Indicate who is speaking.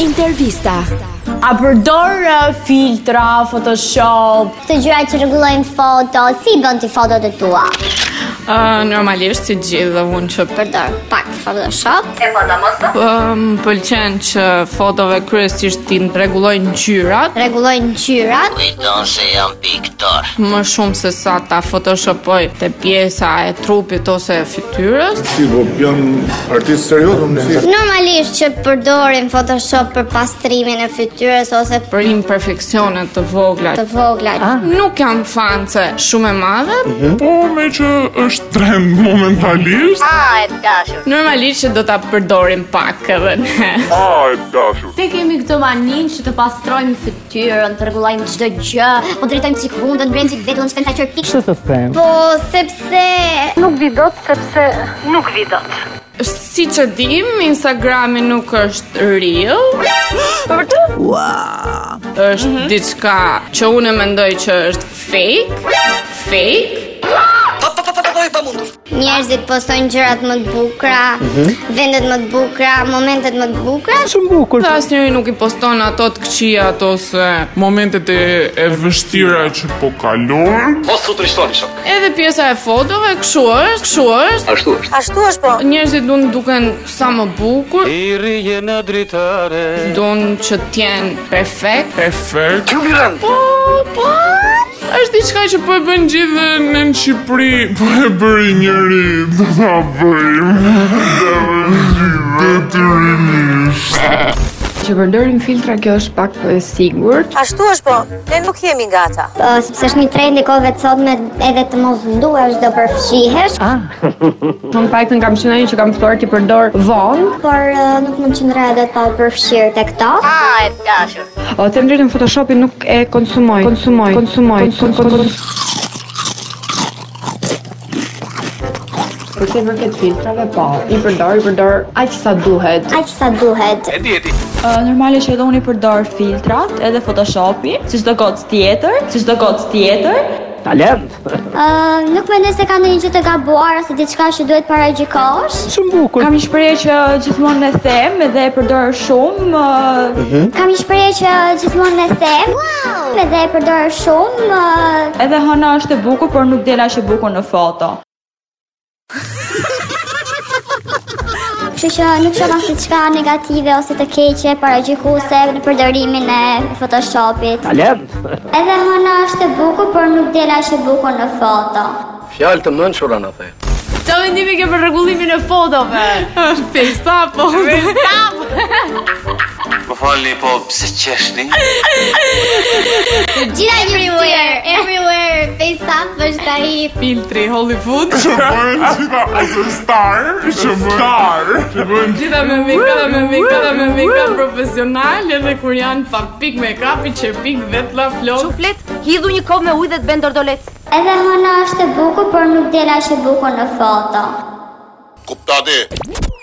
Speaker 1: Intervista.
Speaker 2: A përdor uh, filtra, Photoshop?
Speaker 3: Të gjëra që rregullojnë foto, si i bën ti fotot e tua?
Speaker 4: Uh, normalisht si gjithë dhe unë që
Speaker 3: Përdor pak Photoshop.
Speaker 4: um, pëlqen që fotove kryesisht ti rregullojnë ngjyrat
Speaker 3: Rregulloj ngjyrat,
Speaker 5: Kujton se jam piktor
Speaker 4: më shumë se sa ta photoshopoj te pjesa e trupit ose e fytyrës.
Speaker 6: Si, po jam artist serioz, unë si.
Speaker 3: normalisht që përdorim Photoshop për pastrimin e fytyrës ose për
Speaker 4: për imperfeksione të vogla.
Speaker 3: të vogla.
Speaker 4: Nuk jam fan se shumë e madhe.
Speaker 7: Po me që është trend momentalisht
Speaker 4: Normalisht që do ta përdorim pak edhe ne.
Speaker 7: A e dashur
Speaker 2: Ne kemi këtë manin që të pastrojmë fytyrën, të rregullojmë çdo gjë.
Speaker 3: Po drejtojmë sekundën, vjen sik vetëm shkën taqër pikë. Ç'të them? Po sepse
Speaker 8: Nuk vi dot sepse nuk vi dot.
Speaker 4: Si që dim, Instagrami nuk është real është diçka që unë e mendoj që është fake Fake
Speaker 3: njerëzit postojnë gjërat më të bukura, vendet më të bukura, momentet më të bukura.
Speaker 4: Dhe asnjëri nuk i poston ato të këqia ato se
Speaker 7: Momentet e, e vështira që po kalon
Speaker 4: Edhe pjesa e fotove, këshu është, këshu është Ashtu është Ashtu është po Njerëzit duan të duken sa më bukur I rije në dritare Duan që t'jenë perfekt
Speaker 7: Efekt
Speaker 4: Po, po është diçka që po e bën gjithë
Speaker 7: Dhe në në Shqipëri Po e bëri njëri Do ta bëjmë Dhe vështirë Dhe
Speaker 9: Që përdorim filtra kjo është pak e sigurt.
Speaker 8: Ashtu është po, ne nuk jemi gata.
Speaker 3: Po, sepse është një trend i kohëve të sotme edhe të mos nduhesh do përfshihesh,
Speaker 9: Shumë paktën kam qenë ajo që kam ftuar ti përdor vonë,
Speaker 3: por eh, nuk mund qëndroj edhe pa u përfshirë tek to.
Speaker 9: o them drejtën Photoshopin nuk e konsumoj. Konsumoj, konsumoj, konsumoj. konsumoj. Për të vërtet filtrave, po, i përdor, i përdor aq sa duhet.
Speaker 3: Aq sa duhet.
Speaker 10: Normalisht edhe unë i përdor filtrat, edhe Photoshopi, si çdo gocë tjetër, si çdo gocë tjetër.
Speaker 3: Uh, nuk mendoj se ka ndonjë gjë të gabuar ose diçka që duhet paragjikosh.
Speaker 10: Kam një shprehje që gjithmonë e them edhe e përdor shumë, uh, ë,
Speaker 3: Kam një shprehje që gjithmonë e them. Wow! Edhe e përdor shumë. uh, ë,
Speaker 10: edhe hëna është e bukur, por nuk del aq e bukur në foto.
Speaker 3: Kështu që nuk shoh as diçka negative ose të keqe paragjikuese në përdorimin e Photoshopit. Talent. Edhe hëna është e bukur, por nuk del as e bukur në foto.
Speaker 5: Fjalë të mënshura në the
Speaker 2: Çfarë mendimi ke për rregullimin e fotove?
Speaker 4: Pesa, po
Speaker 5: Po falni po pse qeshni
Speaker 3: Të gjitha everywhere, everywhere, face up është ai.
Speaker 4: Filtri Hollywood
Speaker 7: Që bëjnë qita Ose star Që bëjnë star Që bëjnë
Speaker 4: Gjitha me make-up dhe me make-up dhe me make-up profesional Edhe kur janë pa pik make-up i që pik vetë la flok
Speaker 8: Flet, hidhu një kohë me ujë dhe të bën dordolet.
Speaker 3: Edhe hëna është e bukur, por nuk del as e bukur në foto.
Speaker 7: Kuptati